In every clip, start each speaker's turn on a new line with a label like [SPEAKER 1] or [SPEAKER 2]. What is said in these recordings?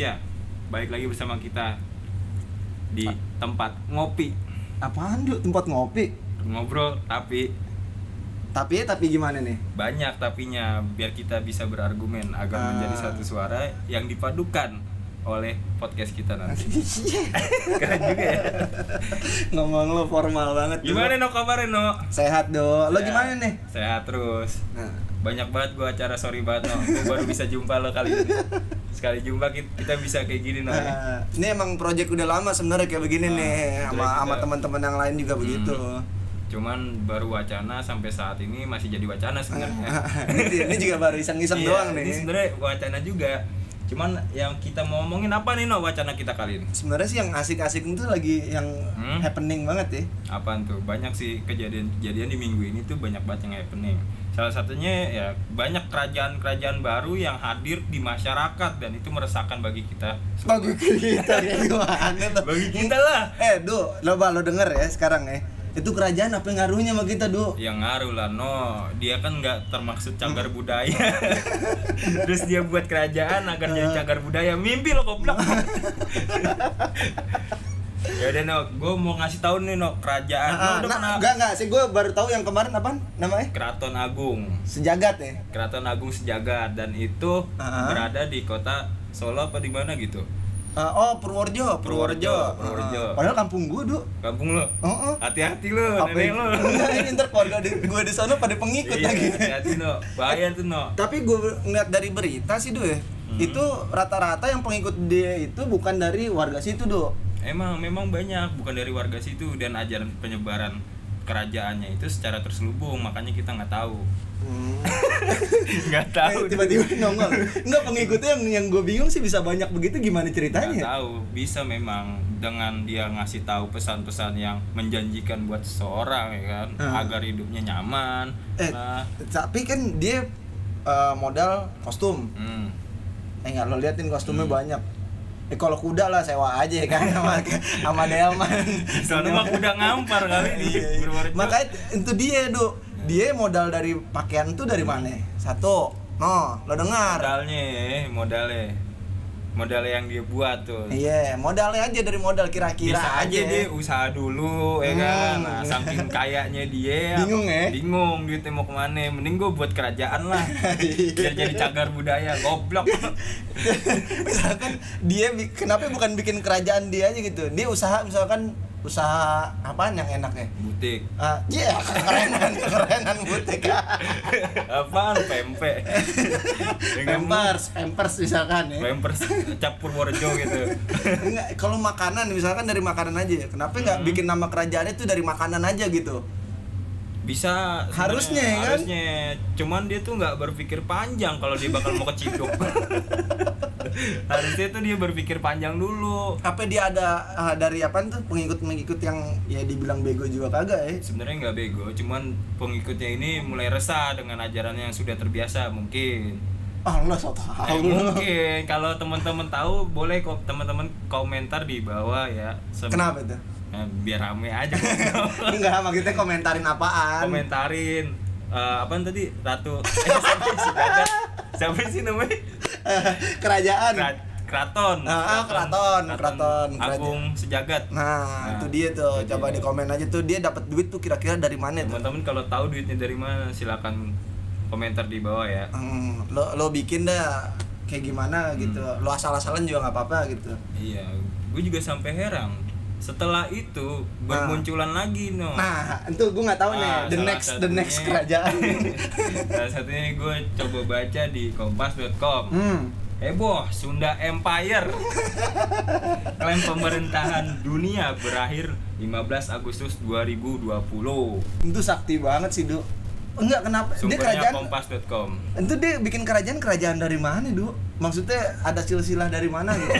[SPEAKER 1] Ya.
[SPEAKER 2] bersama kita di
[SPEAKER 1] Ah.
[SPEAKER 2] tempat ngopi
[SPEAKER 1] Apaan dulu tempat ngopi?
[SPEAKER 2] ngobrol tapi
[SPEAKER 1] Tapi tapi gimana nih?
[SPEAKER 2] banyak tapinya biar kita bisa berargumen agar
[SPEAKER 1] Ah.
[SPEAKER 2] menjadi satu suara yang dipadukan oleh podcast kita nanti keren juga ya
[SPEAKER 1] Ngomong lo formal banget. tuh.
[SPEAKER 2] gimana no kabarnya no
[SPEAKER 1] Sehat do. Lo
[SPEAKER 2] Ya,
[SPEAKER 1] gimana nih?
[SPEAKER 2] sehat terus
[SPEAKER 1] Nah,
[SPEAKER 2] banyak banget gua acara sorry banget no Gua baru bisa jumpa lo kali ini sekali jumpa ki- kita bisa kayak gini no ya.
[SPEAKER 1] eh, ini emang project udah lama sebenarnya kayak begini
[SPEAKER 2] Nah,
[SPEAKER 1] nih sama
[SPEAKER 2] kita-
[SPEAKER 1] sama teman-teman yang lain
[SPEAKER 2] Hmm.
[SPEAKER 1] juga begitu.
[SPEAKER 2] cuman baru wacana sampai saat ini masih jadi wacana sebenarnya
[SPEAKER 1] ini, ini juga baru iseng-iseng
[SPEAKER 2] Iya,
[SPEAKER 1] doang
[SPEAKER 2] Ini
[SPEAKER 1] nih.
[SPEAKER 2] sebenarnya wacana juga. Cuman yang kita mau ngomongin apa nih no wacana kita kali ini?
[SPEAKER 1] Sebenarnya sih yang asik-asik itu lagi yang
[SPEAKER 2] Hmm.
[SPEAKER 1] happening banget ya.
[SPEAKER 2] Apaan tuh? Banyak sih kejadian-kejadian di minggu ini tuh banyak banget yang happening. Salah satunya ya banyak kerajaan-kerajaan baru yang hadir di masyarakat dan itu meresahkan bagi kita.
[SPEAKER 1] Bagi kita kayak gimana tuh?
[SPEAKER 2] Bagi kita lah.
[SPEAKER 1] Eh, Do, coba lo denger ya sekarang ya. Itu kerajaan apa yang ngaruhnya sama kita, Do?
[SPEAKER 2] Yang Ya ngaruh lah no, dia kan nggak termaksud cagar
[SPEAKER 1] Hmm.
[SPEAKER 2] budaya. Terus dia buat kerajaan agar
[SPEAKER 1] Hmm.
[SPEAKER 2] jadi cagar budaya. Mimpi lo goblok. ya udah no, gue mau ngasih tahu nih no kerajaan. No, udah
[SPEAKER 1] Nah, nah,
[SPEAKER 2] Ya, pernah-
[SPEAKER 1] enggak enggak sih gue baru tahu yang kemarin apa namanya?
[SPEAKER 2] Keraton Agung.
[SPEAKER 1] Sejagat ya.
[SPEAKER 2] Keraton Agung sejagat dan itu
[SPEAKER 1] Ah.
[SPEAKER 2] berada di kota Solo apa di mana gitu.
[SPEAKER 1] Ah, oh Purworejo,
[SPEAKER 2] Purworejo, Purworejo.
[SPEAKER 1] Ah, padahal kampung gue, Du.
[SPEAKER 2] Kampung lo.
[SPEAKER 1] Heeh.
[SPEAKER 2] Hati-hati lo, nenek lo.
[SPEAKER 1] Enggak, ini ntar keluarga di, gue di sana pada pengikut
[SPEAKER 2] Iya,
[SPEAKER 1] lagi.
[SPEAKER 2] hati-hati no. Bahaya tuh no.
[SPEAKER 1] Tapi gue ngeliat dari berita sih, Du ya.
[SPEAKER 2] Hmm.
[SPEAKER 1] Itu rata-rata yang pengikut dia itu bukan dari warga situ, Du.
[SPEAKER 2] Emang memang banyak bukan dari warga situ dan ajaran penyebaran kerajaannya itu secara terselubung makanya kita nggak tahu.
[SPEAKER 1] Hmm.
[SPEAKER 2] Nggak
[SPEAKER 1] Eh, tiba-tiba nongol. Enggak pengikutnya yang yang gue bingung sih bisa banyak begitu gimana
[SPEAKER 2] Nggak
[SPEAKER 1] ceritanya?
[SPEAKER 2] tahu bisa memang dengan dia ngasih tahu pesan-pesan yang menjanjikan buat seseorang ya kan
[SPEAKER 1] Ah.
[SPEAKER 2] agar hidupnya nyaman.
[SPEAKER 1] Eh,
[SPEAKER 2] lah.
[SPEAKER 1] tapi kan dia eh, modal kostum.
[SPEAKER 2] Hmm.
[SPEAKER 1] Eh nggak lo liatin kostumnya banyak. Eh kalau kuda lah sewa aja ya kan sama sama Delman.
[SPEAKER 2] Soalnya mah udah ngampar kali di
[SPEAKER 1] Iya, iya.
[SPEAKER 2] Purworejo.
[SPEAKER 1] Makanya itu dia, Du. Dia modal dari pakaian tuh dari mana? Satu. No, lo dengar.
[SPEAKER 2] modalnya ya, modalnya. Modalnya yang dia buat tuh.
[SPEAKER 1] Iya, modalnya aja dari modal kira-kira
[SPEAKER 2] Bisa aja dia usaha dulu ya kan.
[SPEAKER 1] Hmm.
[SPEAKER 2] Nah, saking kayaknya dia
[SPEAKER 1] Bingung ya?
[SPEAKER 2] Bingung duitnya mau kemana Mending gue buat kerajaan lah Biar jadi cagar budaya Goblok
[SPEAKER 1] misalkan dia bi- kenapa bukan bikin kerajaan dia aja gitu? Dia usaha misalkan usaha apaan yang enaknya?
[SPEAKER 2] Butik
[SPEAKER 1] Ah, iya, kerenan, kerenan butik.
[SPEAKER 2] Apaan pempek Dengan
[SPEAKER 1] Pampers, Pampers misalkan ya.
[SPEAKER 2] Pampers Cap Purworejo gitu
[SPEAKER 1] Enggak, kalau makanan misalkan dari makanan aja. ya. Kenapa nggak
[SPEAKER 2] Hmm.
[SPEAKER 1] bikin nama kerajaannya itu dari makanan aja gitu?
[SPEAKER 2] Bisa sebenarnya,
[SPEAKER 1] Harusnya, ya kan?
[SPEAKER 2] Harusnya Cuman dia tuh nggak berpikir panjang Kalau dia bakal mau keciduk Harusnya tuh dia berpikir panjang dulu
[SPEAKER 1] Apa dia ada ah, dari apa tuh pengikut-pengikut yang ya dibilang bego juga kagak ya?
[SPEAKER 2] sebenarnya nggak bego cuman pengikutnya ini mulai resah dengan ajarannya yang sudah terbiasa mungkin
[SPEAKER 1] Ah, lo so tau
[SPEAKER 2] Eh,
[SPEAKER 1] lo.
[SPEAKER 2] mungkin kalau teman-teman tahu boleh kok teman-teman komentar di bawah ya Sem-
[SPEAKER 1] Kenapa itu?
[SPEAKER 2] Eh, biar rame aja
[SPEAKER 1] Enggak, maksudnya komentarin apaan?
[SPEAKER 2] komentarin Eh, apaan tadi ratu eh, siapa sih Jagat? siapa sih namanya
[SPEAKER 1] Eh, kerajaan.
[SPEAKER 2] Kera- keraton
[SPEAKER 1] Ah, ah, keraton, keraton, keraja-
[SPEAKER 2] agung sejagat
[SPEAKER 1] Nah, itu dia tuh.
[SPEAKER 2] itu
[SPEAKER 1] Coba
[SPEAKER 2] dia.
[SPEAKER 1] di komen aja tuh dia dapat duit tuh kira-kira dari mana tuh?
[SPEAKER 2] teman-teman kalau tahu duitnya dari mana silakan komentar di bawah ya
[SPEAKER 1] Hmm, lo lo bikin dah kayak gimana gitu.
[SPEAKER 2] Hmm.
[SPEAKER 1] Lo asal-asalan juga nggak apa-apa gitu.
[SPEAKER 2] Iya, gue juga sampai heran. Setelah itu bermunculan lagi no.
[SPEAKER 1] Nah, itu gue nggak tahu nih.
[SPEAKER 2] Hmm. Ah,
[SPEAKER 1] The
[SPEAKER 2] salah
[SPEAKER 1] next, the next
[SPEAKER 2] satunya-
[SPEAKER 1] kerajaan.
[SPEAKER 2] salah satunya gue coba baca di kompas.com.
[SPEAKER 1] hmm.
[SPEAKER 2] Heboh, Sunda Empire. Klaim pemerintahan dunia berakhir 15 Agustus 2020.
[SPEAKER 1] Itu sakti banget sih, Du. Enggak kenapa? Dia
[SPEAKER 2] Sumbernya
[SPEAKER 1] kerajaan.
[SPEAKER 2] kompas.com.
[SPEAKER 1] Itu dia bikin kerajaan kerajaan dari mana, Du? Maksudnya ada silsilah dari mana gitu.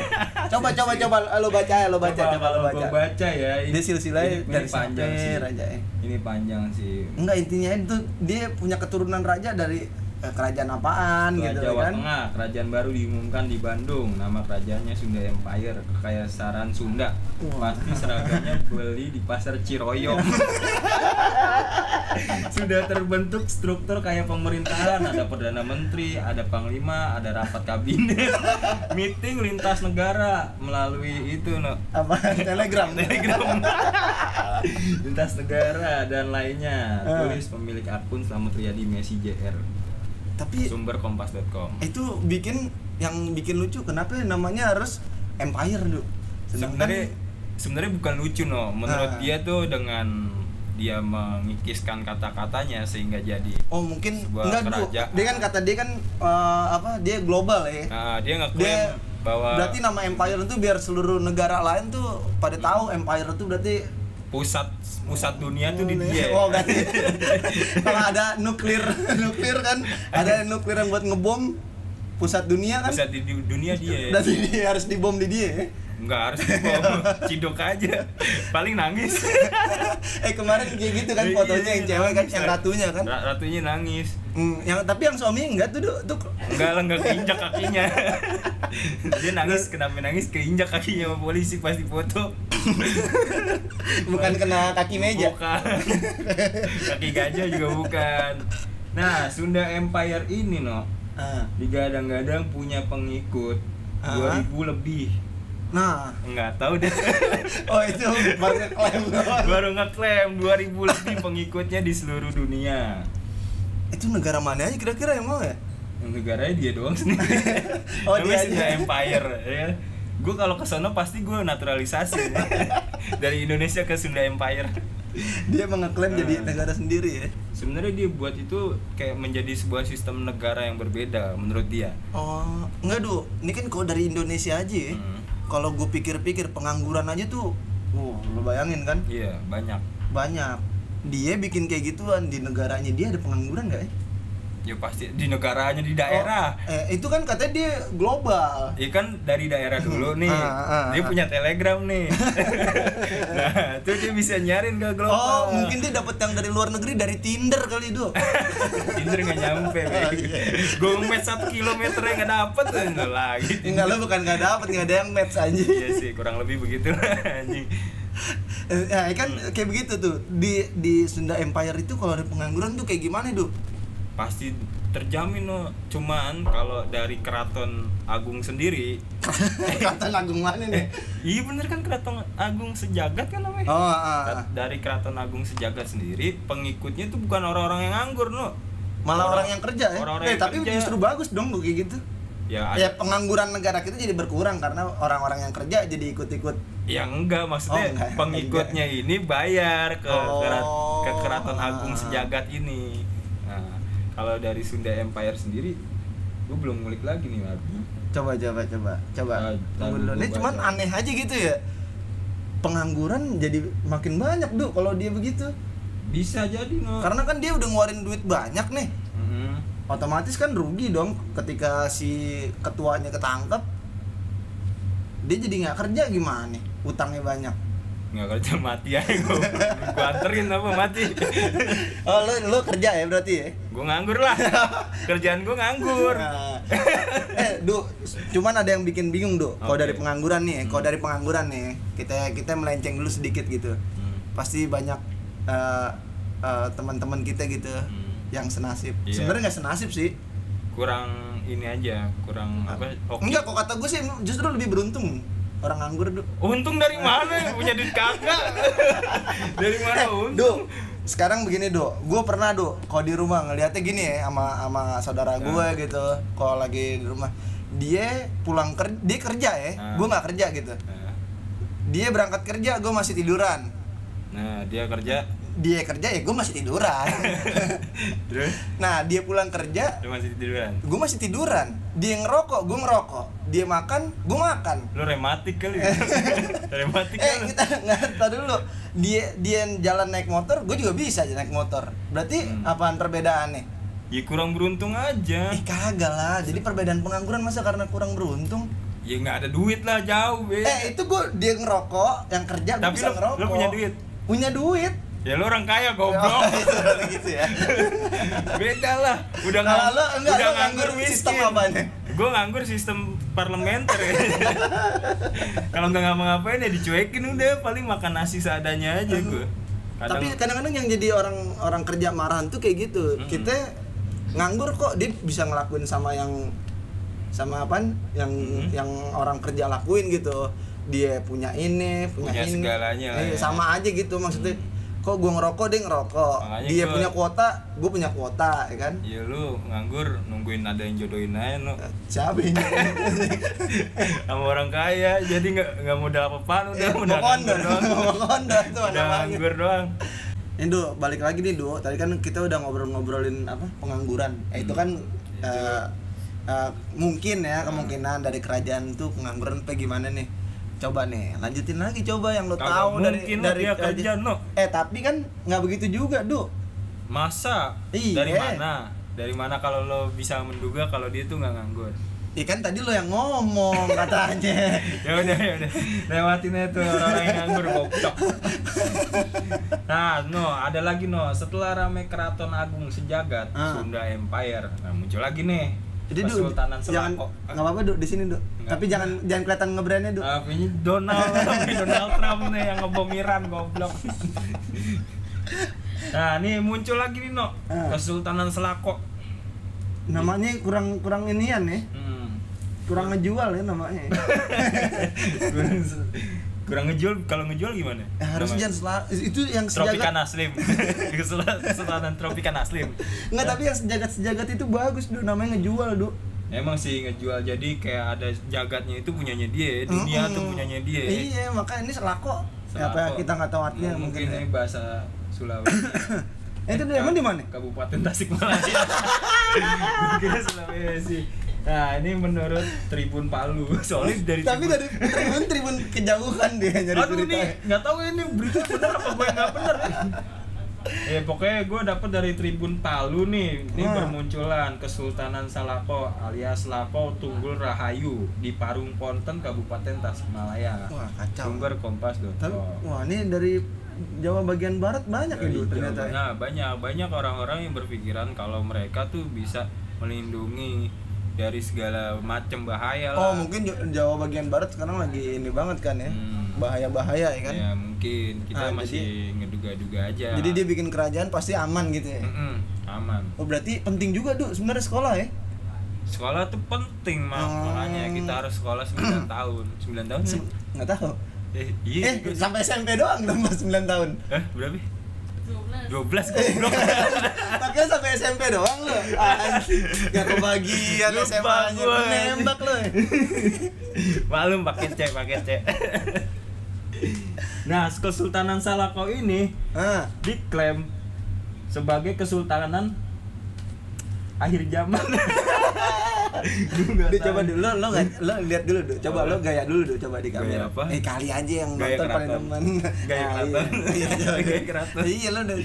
[SPEAKER 1] coba coba coba lo baca ya, lo baca, coba, lo
[SPEAKER 2] kalau
[SPEAKER 1] baca.
[SPEAKER 2] gua baca ya. ini-
[SPEAKER 1] Dia silsilahnya
[SPEAKER 2] ini- ini
[SPEAKER 1] dari
[SPEAKER 2] panjang
[SPEAKER 1] sampai
[SPEAKER 2] sih.
[SPEAKER 1] raja ya.
[SPEAKER 2] Ini panjang sih.
[SPEAKER 1] Enggak intinya itu dia punya keturunan raja dari eh, kerajaan apaan
[SPEAKER 2] Setelah
[SPEAKER 1] gitu
[SPEAKER 2] Nah, Jawa
[SPEAKER 1] kan
[SPEAKER 2] Tengah, kerajaan baru diumumkan di Bandung. Nama kerajaannya Sunda Empire, kekayaan Sunda.
[SPEAKER 1] Wah.
[SPEAKER 2] Pasti seragamnya beli di pasar Ciroyom. Sudah terbentuk struktur kayak pemerintahan, ada perdana menteri, ada panglima, ada rapat kabinet, meeting lintas negara melalui itu no,
[SPEAKER 1] apa telegram
[SPEAKER 2] telegram lintas negara dan lainnya.
[SPEAKER 1] Eh.
[SPEAKER 2] Tulis pemilik akun Slamet Riyadi Messi JR.
[SPEAKER 1] tapi Eh,
[SPEAKER 2] Sumber kompas.com.
[SPEAKER 1] itu bikin yang bikin lucu kenapa ya namanya harus empire dulu
[SPEAKER 2] sebenarnya sebenarnya bukan lucu no menurut
[SPEAKER 1] kan? Ah.
[SPEAKER 2] dia tuh dengan dia mengikiskan kata-katanya sehingga jadi
[SPEAKER 1] oh mungkin
[SPEAKER 2] sebuah
[SPEAKER 1] enggak dulu
[SPEAKER 2] kerajaan.
[SPEAKER 1] dia kan kata dia kan eh, apa dia global ya
[SPEAKER 2] nah, dia ngeklaim
[SPEAKER 1] dia
[SPEAKER 2] bahwa
[SPEAKER 1] berarti nama empire itu biar seluruh negara lain tuh pada tahu empire itu berarti
[SPEAKER 2] pusat pusat dunia tuh di dia
[SPEAKER 1] oh berarti kalau ada nuklir nuklir kan ada nuklir yang buat ngebom pusat dunia kan
[SPEAKER 2] pusat di di dunia dia
[SPEAKER 1] berarti dia harus dibom di dia ya.
[SPEAKER 2] nggak harus bom cidok aja paling nangis
[SPEAKER 1] eh kemarin kayak gitu kan fotonya yang cewek kan yang ratunya kan
[SPEAKER 2] Iya, Ra- ratunya nangis
[SPEAKER 1] Hmm, yang tapi yang suaminya enggak tuh Duk. tuh
[SPEAKER 2] Enggak lah, enggak keinjak kakinya Dia nangis, kenapa nangis keinjak kakinya sama polisi pas foto
[SPEAKER 1] bukan kena kaki meja.
[SPEAKER 2] Bukan. Kaki gajah juga bukan. Nah, Sunda Empire ini no
[SPEAKER 1] Ah.
[SPEAKER 2] digadang-gadang punya pengikut
[SPEAKER 1] Ah.
[SPEAKER 2] 2000 lebih.
[SPEAKER 1] Nah,
[SPEAKER 2] Enggak tahu deh.
[SPEAKER 1] oh itu baru klaim doang.
[SPEAKER 2] Baru ngeklaim 2000 lebih pengikutnya di seluruh dunia.
[SPEAKER 1] Itu negara mana aja kira-kira yang mau ya?
[SPEAKER 2] Yang negaranya dia doang sendiri.
[SPEAKER 1] Oh,
[SPEAKER 2] Namanya
[SPEAKER 1] dia
[SPEAKER 2] Sunda
[SPEAKER 1] aja.
[SPEAKER 2] Empire ya. Gue kalau ke sono pasti gue naturalisasi dari Indonesia ke Sunda Empire.
[SPEAKER 1] Dia mengeklaim jadi
[SPEAKER 2] Ah.
[SPEAKER 1] negara sendiri ya.
[SPEAKER 2] sebenarnya dia buat itu kayak menjadi sebuah sistem negara yang berbeda menurut dia
[SPEAKER 1] Oh, enggak Duk. Ini kan kalau dari Indonesia aja ya.
[SPEAKER 2] Hmm.
[SPEAKER 1] Kalau gue pikir-pikir pengangguran aja tuh, wow, lu bayangin kan
[SPEAKER 2] iya banyak
[SPEAKER 1] banyak. Dia bikin kayak gituan di negaranya dia ada pengangguran nggak ya?
[SPEAKER 2] ya pasti di negaranya di daerah
[SPEAKER 1] Oh, eh, itu kan katanya dia global.
[SPEAKER 2] Iya kan dari daerah dulu nih,
[SPEAKER 1] Ah, ah,
[SPEAKER 2] dia
[SPEAKER 1] ah.
[SPEAKER 2] punya telegram nih. nah, itu dia bisa nyarin ke global.
[SPEAKER 1] Oh, mungkin dia dapat yang dari luar negeri dari Tinder kali itu.
[SPEAKER 2] Tinder nggak nyampe.
[SPEAKER 1] Oh, iya.
[SPEAKER 2] Gue ngomong satu kilometer nggak dapet eh, Nggak lagi.
[SPEAKER 1] Enggak lo bukan nggak dapet nggak ada yang match aja.
[SPEAKER 2] Iya sih, kurang lebih begitu lah, anjing.
[SPEAKER 1] Eh, ya, kan
[SPEAKER 2] Hmm.
[SPEAKER 1] kayak begitu tuh di di Sunda Empire itu kalau ada pengangguran tuh kayak gimana Du?
[SPEAKER 2] Pasti terjamin loh. Cuman kalau dari keraton agung sendiri,
[SPEAKER 1] Kata Agung mana nih?
[SPEAKER 2] Iya bener kan Keraton Agung Sejagat kan namanya.
[SPEAKER 1] Oh, ah, ah.
[SPEAKER 2] Da- Dari Keraton Agung Sejagat sendiri pengikutnya itu bukan orang-orang yang nganggur no.
[SPEAKER 1] malah orang, yang kerja ya.
[SPEAKER 2] orang-orang
[SPEAKER 1] eh
[SPEAKER 2] yang
[SPEAKER 1] tapi
[SPEAKER 2] kerja.
[SPEAKER 1] justru bagus dong tuh kayak gitu.
[SPEAKER 2] Ya ada.
[SPEAKER 1] Ya pengangguran negara kita jadi berkurang karena orang-orang yang kerja jadi ikut-ikut.
[SPEAKER 2] Ya enggak maksudnya
[SPEAKER 1] Oh, enggak, Iya.
[SPEAKER 2] pengikutnya ini bayar ke
[SPEAKER 1] Oh.
[SPEAKER 2] kerat- ke Keraton Agung
[SPEAKER 1] Ah.
[SPEAKER 2] Sejagat ini. Nah, kalau dari Sunda Empire sendiri gue belum ngulik lagi nih Abi.
[SPEAKER 1] Coba coba coba coba.
[SPEAKER 2] Ah, lagu
[SPEAKER 1] Tunggu dulu. Ini
[SPEAKER 2] gua
[SPEAKER 1] cuman
[SPEAKER 2] baca.
[SPEAKER 1] aneh aja gitu ya. Pengangguran jadi makin banyak Du kalau dia begitu.
[SPEAKER 2] Bisa jadi no.
[SPEAKER 1] Karena kan dia udah ngeluarin duit banyak nih.
[SPEAKER 2] Mhm.
[SPEAKER 1] otomatis kan rugi dong ketika si ketuanya ketangkep dia jadi nggak kerja gimana nih utangnya banyak
[SPEAKER 2] Nggak kerja mati aja gue. gue anterin apa mati.
[SPEAKER 1] oh lo lo kerja ya berarti ya
[SPEAKER 2] gue nganggur lah. Kerjaan gue nganggur.
[SPEAKER 1] Nah, eh du cuman ada yang bikin bingung du kalau
[SPEAKER 2] Oke.
[SPEAKER 1] dari pengangguran nih kalau dari pengangguran nih kita kita melenceng dulu sedikit gitu
[SPEAKER 2] Hmm.
[SPEAKER 1] pasti banyak eh, eh, teman-teman kita gitu
[SPEAKER 2] Hmm.
[SPEAKER 1] yang senasib
[SPEAKER 2] Iya.
[SPEAKER 1] sebenarnya nggak senasib sih
[SPEAKER 2] kurang ini aja kurang Hmm, apa oke
[SPEAKER 1] enggak kok kata gue sih justru lebih beruntung orang nganggur du
[SPEAKER 2] untung dari mana punya duit kagak dari mana Oh, untung
[SPEAKER 1] Do, Eh, sekarang begini Do, gue pernah Do, kalau di rumah ngeliatnya gini ya sama sama saudara
[SPEAKER 2] Ya.
[SPEAKER 1] gue gitu, kalau lagi di rumah dia pulang kerja, dia kerja ya,
[SPEAKER 2] Ah.
[SPEAKER 1] gue nggak kerja gitu,
[SPEAKER 2] Nah,
[SPEAKER 1] dia berangkat kerja, gue masih tiduran,
[SPEAKER 2] nah dia kerja
[SPEAKER 1] dia kerja ya gue masih tiduran,
[SPEAKER 2] terus
[SPEAKER 1] nah dia pulang kerja,
[SPEAKER 2] lu masih kan? tiduran
[SPEAKER 1] gue masih tiduran, dia ngerokok, gue ngerokok, dia makan, gue makan,
[SPEAKER 2] lu rematik kali ya rematik
[SPEAKER 1] eh
[SPEAKER 2] kali ya?
[SPEAKER 1] kita nggak tahu dulu dia dia jalan naik motor, gue juga bisa aja naik motor, berarti
[SPEAKER 2] Hmm.
[SPEAKER 1] apaan perbedaannya?
[SPEAKER 2] ya kurang beruntung aja
[SPEAKER 1] Eh kagak lah, jadi perbedaan pengangguran masa karena kurang beruntung
[SPEAKER 2] ya nggak ada duit lah jauh be
[SPEAKER 1] Eh itu gue dia ngerokok, yang kerja gue
[SPEAKER 2] Iya. Tapi
[SPEAKER 1] bisa
[SPEAKER 2] lu- lu
[SPEAKER 1] ngerokok
[SPEAKER 2] punya duit?
[SPEAKER 1] Punya duit
[SPEAKER 2] Ya lu orang kaya goblok.
[SPEAKER 1] Berarti gitu ya.
[SPEAKER 2] Beda lah. Udah
[SPEAKER 1] Kalau
[SPEAKER 2] ngang-
[SPEAKER 1] lu enggak
[SPEAKER 2] udah
[SPEAKER 1] lu nganggur sistem apa nih?
[SPEAKER 2] Gue nganggur sistem parlementer ya. Kalau nggak ngapa-ngapain ya dicuekin udah paling makan nasi seadanya aja gue.
[SPEAKER 1] Tapi kadang-kadang yang jadi orang orang kerja marahan tuh kayak gitu.
[SPEAKER 2] Mm-mm.
[SPEAKER 1] Kita nganggur kok dia bisa ngelakuin sama yang sama apaan? Yang
[SPEAKER 2] Mm-mm.
[SPEAKER 1] yang orang kerja lakuin gitu. Dia punya ini, punya,
[SPEAKER 2] Punya
[SPEAKER 1] ini.
[SPEAKER 2] segalanya lah
[SPEAKER 1] Eh,
[SPEAKER 2] ya.
[SPEAKER 1] sama aja gitu maksudnya. Kok gua ngerokok dia ngerokok.
[SPEAKER 2] Makanya
[SPEAKER 1] dia
[SPEAKER 2] gua-
[SPEAKER 1] punya kuota, gua punya kuota, ya kan?
[SPEAKER 2] Ya lu nganggur nungguin ada yang jodohin aja no.
[SPEAKER 1] Siapa ini?
[SPEAKER 2] sama orang kaya jadi nggak nggak modal apa-apaan udah
[SPEAKER 1] Eh,
[SPEAKER 2] modal
[SPEAKER 1] mau kondor,
[SPEAKER 2] nganggur doang.
[SPEAKER 1] mau kondor tuh
[SPEAKER 2] Udah
[SPEAKER 1] namanya.
[SPEAKER 2] nganggur doang.
[SPEAKER 1] Indo balik lagi nih Duo. Tadi kan kita udah ngobrol-ngobrolin apa pengangguran. Eh, itu kan
[SPEAKER 2] Itu.
[SPEAKER 1] eh, eh, mungkin ya kemungkinan dari kerajaan tuh pengangguran apa gimana nih? Coba nih, lanjutin lagi coba yang lo
[SPEAKER 2] Kagak
[SPEAKER 1] tahu dari
[SPEAKER 2] mungkin lah
[SPEAKER 1] dari
[SPEAKER 2] dia kerjaan lo.
[SPEAKER 1] Eh tapi kan nggak begitu juga Du.
[SPEAKER 2] Masa?
[SPEAKER 1] Iya.
[SPEAKER 2] Dari mana? Dari mana kalau lo bisa menduga kalau dia tuh nggak nganggur?
[SPEAKER 1] Iya kan tadi lo yang ngomong katanya.
[SPEAKER 2] ya udah ya udah lewatin aja tuh orang yang nganggur goblok nah no ada lagi no setelah rame keraton agung sejagat
[SPEAKER 1] Ah.
[SPEAKER 2] Sunda Empire nah muncul lagi nih
[SPEAKER 1] Jadi Du,
[SPEAKER 2] Kesultanan
[SPEAKER 1] jangan
[SPEAKER 2] Selako Ah,
[SPEAKER 1] nggak apa-apa Du di sini Du.
[SPEAKER 2] Nggak.
[SPEAKER 1] Tapi jangan jangan kelihatan ngebrandnya Du.
[SPEAKER 2] Ah, ini Donald tapi Donald Trump nih yang ngebom Iran goblok nah nih muncul lagi nih no
[SPEAKER 1] Ah.
[SPEAKER 2] Kesultanan Selako
[SPEAKER 1] Namanya kurang kurang inian ya.
[SPEAKER 2] hmm.
[SPEAKER 1] Kurang ngejual ya namanya.
[SPEAKER 2] kurang, kurang ngejual kalau ngejual gimana
[SPEAKER 1] Eh, harus
[SPEAKER 2] Namanya?
[SPEAKER 1] jangan sela- itu yang
[SPEAKER 2] Tropikan
[SPEAKER 1] sejagat
[SPEAKER 2] Aslim Kesultanan Tropikan Aslim
[SPEAKER 1] Enggak, tapi yang sejagat-sejagat itu bagus, Du. Namanya ngejual, Du.
[SPEAKER 2] Emang sih ngejual jadi kayak ada jagatnya itu punyanya dia, dunia
[SPEAKER 1] Mm-mm.
[SPEAKER 2] tuh punyanya dia.
[SPEAKER 1] Hmm.
[SPEAKER 2] ya.
[SPEAKER 1] Iya, makanya ini selako. Apa ya,
[SPEAKER 2] Selako.
[SPEAKER 1] kita nggak tahu artinya mungkin. ya.
[SPEAKER 2] mungkin ya. ini bahasa Sulawesi.
[SPEAKER 1] Eh, itu emang di mana?
[SPEAKER 2] Kabupaten Tasikmalaya. mungkin Sulawesi. Nah, ini menurut Tribun Palu. Soalnya dari
[SPEAKER 1] tapi
[SPEAKER 2] Tribun-
[SPEAKER 1] dari tribun tribun kejauhan dia nyari ya.
[SPEAKER 2] Aduh
[SPEAKER 1] berita.
[SPEAKER 2] nih, nggak tahu ini berita bener apa gue nggak bener. Eh pokoknya gue dapet dari Tribun Palu nih, ini
[SPEAKER 1] Hmm.
[SPEAKER 2] bermunculan Kesultanan Salako alias Lapo Tunggul Rahayu di Parung Ponten Kabupaten Tasikmalaya.
[SPEAKER 1] Wah, kacau.
[SPEAKER 2] Sumber Kompas
[SPEAKER 1] Tapi wah, ini dari Jawa bagian barat banyak ya, Du, ternyata. ya.
[SPEAKER 2] Nah banyak banyak orang-orang yang berpikiran kalau mereka tuh bisa melindungi dari segala macam bahaya ya lah.
[SPEAKER 1] Oh, mungkin Jo- Jawa bagian barat sekarang lagi ini banget kan ya.
[SPEAKER 2] Hmm.
[SPEAKER 1] Bahaya-bahaya ya kan.
[SPEAKER 2] Ya mungkin kita
[SPEAKER 1] Ah,
[SPEAKER 2] masih ngeduga-duga aja.
[SPEAKER 1] Jadi dia bikin kerajaan pasti aman gitu ya.
[SPEAKER 2] Mm-mm, aman.
[SPEAKER 1] Oh, berarti penting juga, Du, sebenarnya sekolah ya.
[SPEAKER 2] Sekolah tuh penting mak,
[SPEAKER 1] Hmm.
[SPEAKER 2] makanya kita harus sekolah 9 tahun. 9 tahun sih?
[SPEAKER 1] Nggak tahu.
[SPEAKER 2] Eh,
[SPEAKER 1] Eh,
[SPEAKER 2] iya. gua-
[SPEAKER 1] sampai SMP doang dong, Mas, 9 tahun.
[SPEAKER 2] Eh, berapa?
[SPEAKER 3] 12
[SPEAKER 2] 12 goblok.
[SPEAKER 1] Makanya kan sampai SMP doang lu. Anjing, gak kebagian
[SPEAKER 2] Lupa
[SPEAKER 1] SMA-nya.
[SPEAKER 2] gua.
[SPEAKER 1] Nembak lu.
[SPEAKER 2] Malum pakai C, pakai C. nah, Kesultanan Salako ini
[SPEAKER 1] Ah.
[SPEAKER 2] diklaim sebagai kesultanan akhir zaman. Gua nggak
[SPEAKER 1] Duh,
[SPEAKER 2] tahu.
[SPEAKER 1] coba dulu, lo, lo, nggak- lo lihat dulu dulu, coba lo gaya dulu dulu, coba di
[SPEAKER 2] Gaya
[SPEAKER 1] kamera.
[SPEAKER 2] apa?
[SPEAKER 1] Eh kali aja yang
[SPEAKER 2] Gaya
[SPEAKER 1] nonton paling
[SPEAKER 2] keraton.
[SPEAKER 1] demen.
[SPEAKER 2] Gaya
[SPEAKER 1] Nah,
[SPEAKER 2] keraton.
[SPEAKER 1] Iya, iya, coba.
[SPEAKER 2] Gaya keraton.
[SPEAKER 1] Iya, lo udah.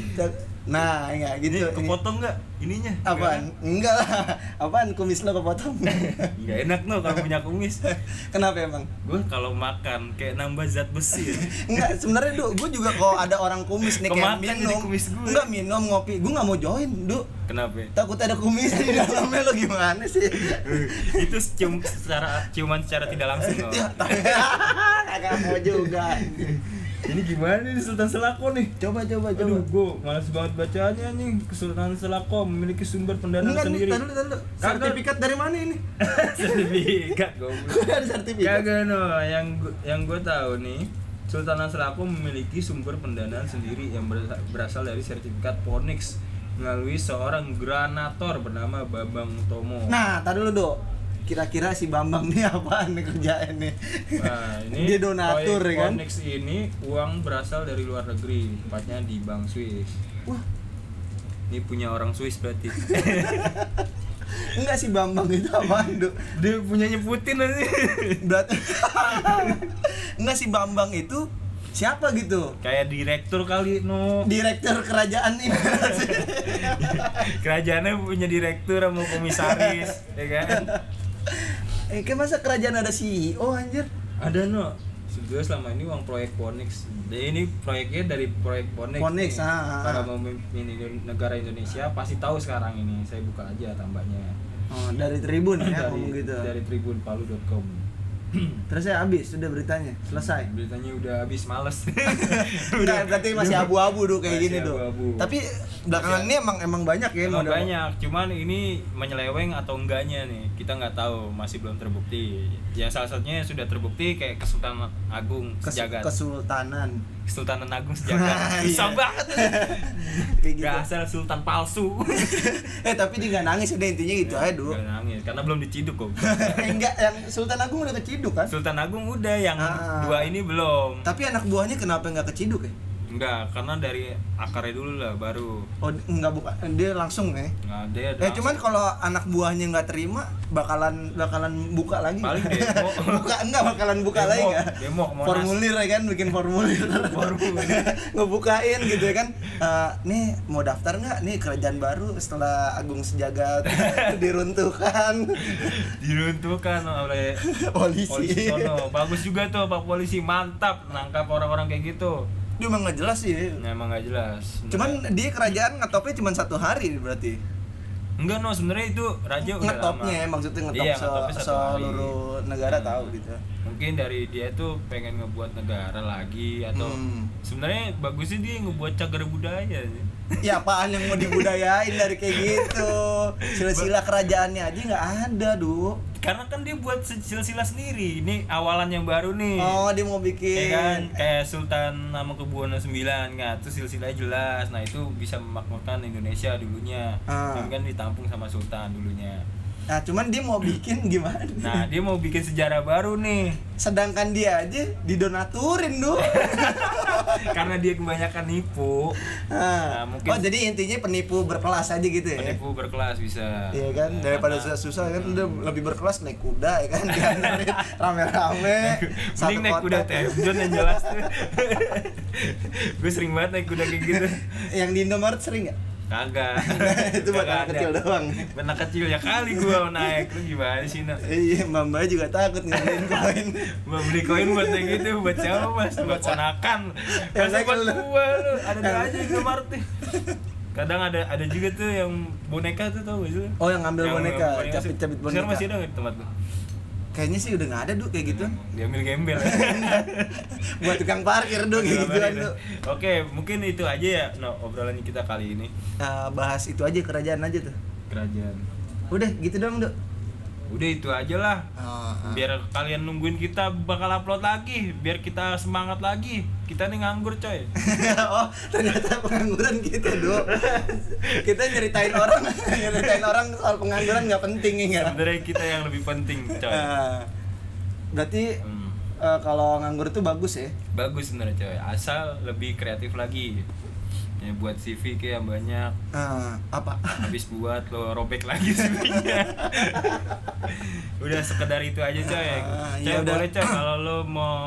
[SPEAKER 1] Nah, enggak gitu.
[SPEAKER 2] Ini kepotong nggak ininya?
[SPEAKER 1] Apaan? Enggak lah. Apaan kumis lo kepotong?
[SPEAKER 2] Nggak enak no kalau punya kumis.
[SPEAKER 1] Kenapa emang?
[SPEAKER 2] Gue kalau makan kayak nambah zat besi. ya.
[SPEAKER 1] Enggak, sebenarnya Du, gue juga kalau ada orang kumis nih kayak
[SPEAKER 2] Kemakan jadi
[SPEAKER 1] minum,
[SPEAKER 2] kumis gue.
[SPEAKER 1] enggak minum ngopi, gue nggak mau join, Du.
[SPEAKER 2] Kenapa? ya?
[SPEAKER 1] Takut ada kumis di dalamnya lo gimana sih?
[SPEAKER 2] itu cium secara ciuman secara tidak langsung loh.
[SPEAKER 1] ya, tapi- kagak mau juga.
[SPEAKER 2] Ini gimana nih Sultan Selako nih?
[SPEAKER 1] Coba coba coba.
[SPEAKER 2] Aduh, gue malas banget bacaannya nih. Kesultanan Selako memiliki sumber pendanaan
[SPEAKER 1] Enggak, nih,
[SPEAKER 2] sendiri.
[SPEAKER 1] tar dulu, tar dulu.
[SPEAKER 2] Kagak.
[SPEAKER 1] Sertifikat dari mana ini?
[SPEAKER 2] Sertifikat
[SPEAKER 1] Gue
[SPEAKER 2] goblok.
[SPEAKER 1] ada sertifikat.
[SPEAKER 2] Kagak no, yang gu- yang gue tahu nih Sultanan Selako memiliki sumber pendanaan sendiri yang berasa- berasal dari sertifikat Ponix melalui seorang granator bernama Bambang Tomo.
[SPEAKER 1] Nah, tar dulu, Do. Kira-kira si Bambang nih apaan nih kerjaan nih?
[SPEAKER 2] Nah, ini
[SPEAKER 1] Dia donatur
[SPEAKER 2] proyek
[SPEAKER 1] ya kan?
[SPEAKER 2] Onyx ini uang berasal dari luar negeri, tempatnya di Bank Swiss.
[SPEAKER 1] Wah,
[SPEAKER 2] Ini punya orang Swiss berarti.
[SPEAKER 1] enggak si Bambang itu apaan, Do?
[SPEAKER 2] Dia punyanya Putin nanti.
[SPEAKER 1] Berarti Enggak si Bambang itu siapa gitu?
[SPEAKER 2] Kayak direktur kali no.
[SPEAKER 1] Direktur kerajaan ini.
[SPEAKER 2] Kerajaannya punya direktur sama komisaris, ya kan?
[SPEAKER 1] eh, kayak masa kerajaan ada CEO E anjir?
[SPEAKER 2] Ada no Sebetulnya selama ini uang proyek Ponix. Dan ini proyeknya dari proyek Ponix.
[SPEAKER 1] Ponix,
[SPEAKER 2] nih.
[SPEAKER 1] ah, ah,
[SPEAKER 2] Para
[SPEAKER 1] ah.
[SPEAKER 2] pemimpin Indo- negara Indonesia pasti tahu sekarang ini. Saya buka aja tambahnya.
[SPEAKER 1] Oh, dari Tribun ya
[SPEAKER 2] dari,
[SPEAKER 1] ngomong gitu.
[SPEAKER 2] dari tribunpalu.com.
[SPEAKER 1] Terus saya habis sudah beritanya, selesai.
[SPEAKER 2] Beritanya udah habis males.
[SPEAKER 1] Nah, berarti masih abu-abu do kayak
[SPEAKER 2] Masih
[SPEAKER 1] gini do.
[SPEAKER 2] abu-abu.
[SPEAKER 1] Tapi belakangan ini emang emang banyak ya
[SPEAKER 2] Emang
[SPEAKER 1] modal.
[SPEAKER 2] banyak, cuman ini menyeleweng atau enggaknya nih kita nggak tahu, masih belum terbukti. Ya salah satunya yang sudah terbukti kayak Kesultanan Agung
[SPEAKER 1] Kes-
[SPEAKER 2] Sejagat,
[SPEAKER 1] kesultanan.
[SPEAKER 2] Kesultanan Agung Sejagat,
[SPEAKER 1] Nah,
[SPEAKER 2] susah
[SPEAKER 1] iya.
[SPEAKER 2] banget.
[SPEAKER 1] Kayak gitu.
[SPEAKER 2] Berasal Sultan palsu.
[SPEAKER 1] eh tapi dia nggak nangis udah intinya gitu aja do.
[SPEAKER 2] Ya, Nggak nangis, karena belum diciduk kok.
[SPEAKER 1] Enggak yang Sultan Agung udah keciduk kan?
[SPEAKER 2] Sultan Agung udah, yang
[SPEAKER 1] Ah.
[SPEAKER 2] dua ini belum.
[SPEAKER 1] Tapi anak buahnya kenapa nggak keciduk ya?
[SPEAKER 2] Enggak, karena dari akarnya dulu lah baru.
[SPEAKER 1] Oh nggak bukan dia langsung ya.
[SPEAKER 2] Nggak ada. ada
[SPEAKER 1] Eh cuman kalau anak buahnya nggak terima bakalan bakalan buka lagi. nggak?
[SPEAKER 2] Paling demo.
[SPEAKER 1] buka enggak bakalan buka
[SPEAKER 2] Demo,
[SPEAKER 1] lagi enggak?
[SPEAKER 2] demo ke Monas.
[SPEAKER 1] Formulir ya kan bikin formulir.
[SPEAKER 2] Formulir.
[SPEAKER 1] Ngebukain gitu ya kan. Eh, nih mau daftar nggak nih kerajaan baru setelah Agung Sejagat diruntuhkan
[SPEAKER 2] diruntuhkan oleh
[SPEAKER 1] polisi.
[SPEAKER 2] polisi sono. Bagus juga tuh Pak polisi, mantap nangkap orang-orang kayak gitu.
[SPEAKER 1] Dia emang nggak jelas sih.
[SPEAKER 2] Nah, emang gak jelas.
[SPEAKER 1] Cuman dia kerajaan ngetopnya cuman satu hari berarti.
[SPEAKER 2] enggak no sebenarnya itu raja udah
[SPEAKER 1] ngetopnya
[SPEAKER 2] lama.
[SPEAKER 1] maksudnya ngetop
[SPEAKER 2] Iya,
[SPEAKER 1] se-
[SPEAKER 2] ngetopnya satu hari. Hmm.
[SPEAKER 1] seluruh negara tahu gitu.
[SPEAKER 2] Mungkin dari dia tuh pengen ngebuat negara lagi atau
[SPEAKER 1] Hmm.
[SPEAKER 2] sebenarnya bagusnya dia ngebuat cagar budaya.
[SPEAKER 1] Ya apaan yang mau dibudayain dari kayak gitu? Silsilah kerajaannya aja nggak ada, Du.
[SPEAKER 2] Karena kan dia buat sil- silsilah sendiri. Ini awalan yang baru nih.
[SPEAKER 1] Oh, dia mau
[SPEAKER 2] Ya
[SPEAKER 1] bikin.
[SPEAKER 2] kan kayak Sultan Hamengkubuwono 9 kan itu silsilahnya jelas. Nah, itu bisa memakmurkan Indonesia dulunya.
[SPEAKER 1] Ah.
[SPEAKER 2] Tapi kan ditampung sama sultan dulunya.
[SPEAKER 1] Nah, cuman dia mau bikin gimana?
[SPEAKER 2] Nah, dia mau bikin sejarah baru nih.
[SPEAKER 1] Sedangkan dia aja didonaturin, Du.
[SPEAKER 2] Karena dia kebanyakan nipu.
[SPEAKER 1] Nah,
[SPEAKER 2] Nah, mungkin-
[SPEAKER 1] Oh, jadi intinya penipu berkelas aja gitu ya.
[SPEAKER 2] Penipu berkelas bisa. Nah,
[SPEAKER 1] Iya kan daripada
[SPEAKER 2] Karena- Hmm.
[SPEAKER 1] susah kan udah lebih berkelas naik kuda ya kan diantarin rame-rame
[SPEAKER 2] Mending naik kuda
[SPEAKER 1] kotak.
[SPEAKER 2] Teflon yang jelas tuh. gue sering banget naik kuda kayak gitu.
[SPEAKER 1] yang di Indomaret sering nggak?
[SPEAKER 2] Kagak.
[SPEAKER 1] Nah, Itu
[SPEAKER 2] Kagak
[SPEAKER 1] buat anak
[SPEAKER 2] ada.
[SPEAKER 1] kecil doang.
[SPEAKER 2] Anak kecil ya kali gue naik. Lu gimana sih, Nak?
[SPEAKER 1] Iya, Mbak juga takut ngambilin koin.
[SPEAKER 2] Mau beli koin buat yang gitu, buat siapa mas? Buat ponakan
[SPEAKER 1] Yang
[SPEAKER 2] Masa buat
[SPEAKER 1] segel.
[SPEAKER 2] gua lu, ada ada aja di kamar tuh Kadang ada ada juga tuh yang boneka tuh tau gak sih lu?
[SPEAKER 1] Oh, yang ngambil boneka,
[SPEAKER 2] boneka sih.
[SPEAKER 1] capit-capit boneka.
[SPEAKER 2] Sekarang masih ada gak di tempat lu?
[SPEAKER 1] Kayaknya sih udah nggak ada Du kayak gitu.
[SPEAKER 2] Diambil gembel
[SPEAKER 1] buat tukang parkir dong kayak gituan Du.
[SPEAKER 2] Oke, mungkin itu aja ya no, obrolan kita kali ini
[SPEAKER 1] Eh, bahas itu aja kerajaan aja tuh.
[SPEAKER 2] Kerajaan
[SPEAKER 1] Udah gitu dong Du.
[SPEAKER 2] Udah itu aja lah
[SPEAKER 1] Ah, ah.
[SPEAKER 2] Biar kalian nungguin kita bakal upload lagi Biar kita semangat lagi Kita nih nganggur coy
[SPEAKER 1] oh ternyata pengangguran gitu dok kita nyeritain orang nyeritain orang soal pengangguran nggak penting ya nggak?
[SPEAKER 2] Sebenarnya kita yang lebih penting coy
[SPEAKER 1] Nah, berarti
[SPEAKER 2] Hmm.
[SPEAKER 1] eh, kalau nganggur itu bagus ya
[SPEAKER 2] bagus sebenarnya coy asal lebih kreatif lagi ya buat CV kayak yang banyak
[SPEAKER 1] Eh, apa
[SPEAKER 2] habis buat lo robek lagi CV-nya udah sekedar itu aja coy
[SPEAKER 1] Ah,
[SPEAKER 2] coy
[SPEAKER 1] iya, udah.
[SPEAKER 2] boleh coy kalau lo mau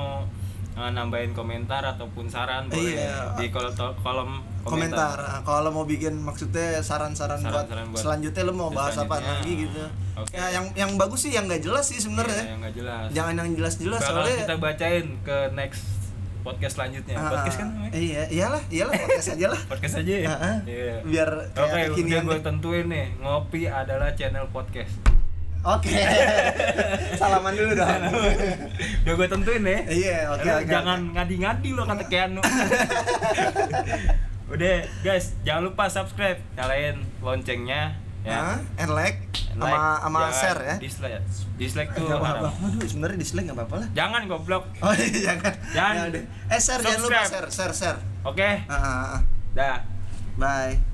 [SPEAKER 2] eh, nambahin komentar ataupun saran Kan boleh ya,
[SPEAKER 1] Iya.
[SPEAKER 2] di kolom kolom
[SPEAKER 1] komentar,
[SPEAKER 2] komentar,
[SPEAKER 1] Ah, kalau mau bikin maksudnya saran-saran buat,
[SPEAKER 2] Saran-saran buat
[SPEAKER 1] selanjutnya lo mau bahas apa
[SPEAKER 2] selanjutnya.
[SPEAKER 1] lagi gitu
[SPEAKER 2] Oke.
[SPEAKER 1] ya yang yang bagus sih yang nggak jelas sih
[SPEAKER 2] Iya,
[SPEAKER 1] sebenarnya
[SPEAKER 2] yang nggak jelas
[SPEAKER 1] jangan yang jelas-jelas
[SPEAKER 2] bakal
[SPEAKER 1] soalnya
[SPEAKER 2] kita bacain ke next podcast selanjutnya
[SPEAKER 1] Ah,
[SPEAKER 2] podcast kan namanya?
[SPEAKER 1] iya iyalah iyalah podcast aja lah
[SPEAKER 2] podcast aja ya
[SPEAKER 1] Heeh.
[SPEAKER 2] Iya.
[SPEAKER 1] Biar kayak
[SPEAKER 2] oke udah
[SPEAKER 1] kekinian
[SPEAKER 2] gue
[SPEAKER 1] deh.
[SPEAKER 2] tentuin nih ngopi adalah channel podcast
[SPEAKER 1] Oke. Salaman dulu dong.
[SPEAKER 2] udah gue tentuin ya
[SPEAKER 1] Iya, oke,
[SPEAKER 2] Lu
[SPEAKER 1] oke,
[SPEAKER 2] jangan ngadi-ngadi lo kata Keanu udah guys jangan lupa subscribe nyalain loncengnya
[SPEAKER 1] Hah?
[SPEAKER 2] ya
[SPEAKER 1] and like
[SPEAKER 2] And
[SPEAKER 1] Ah, sama
[SPEAKER 2] like,
[SPEAKER 1] sama
[SPEAKER 2] jangan
[SPEAKER 1] share ya.
[SPEAKER 2] dislike dislike tuh
[SPEAKER 1] Enggak apa-apa.
[SPEAKER 2] haram.
[SPEAKER 1] Aduh, sebenarnya dislike enggak apa-apa lah.
[SPEAKER 2] jangan goblok
[SPEAKER 1] Oh, iya jangan.
[SPEAKER 2] Jangan.
[SPEAKER 1] Ya udah. Eh, share jangan lupa
[SPEAKER 2] Subscribe.
[SPEAKER 1] share, share, share.
[SPEAKER 2] oke
[SPEAKER 1] Ah, ah, ah.
[SPEAKER 2] dah
[SPEAKER 1] Bye.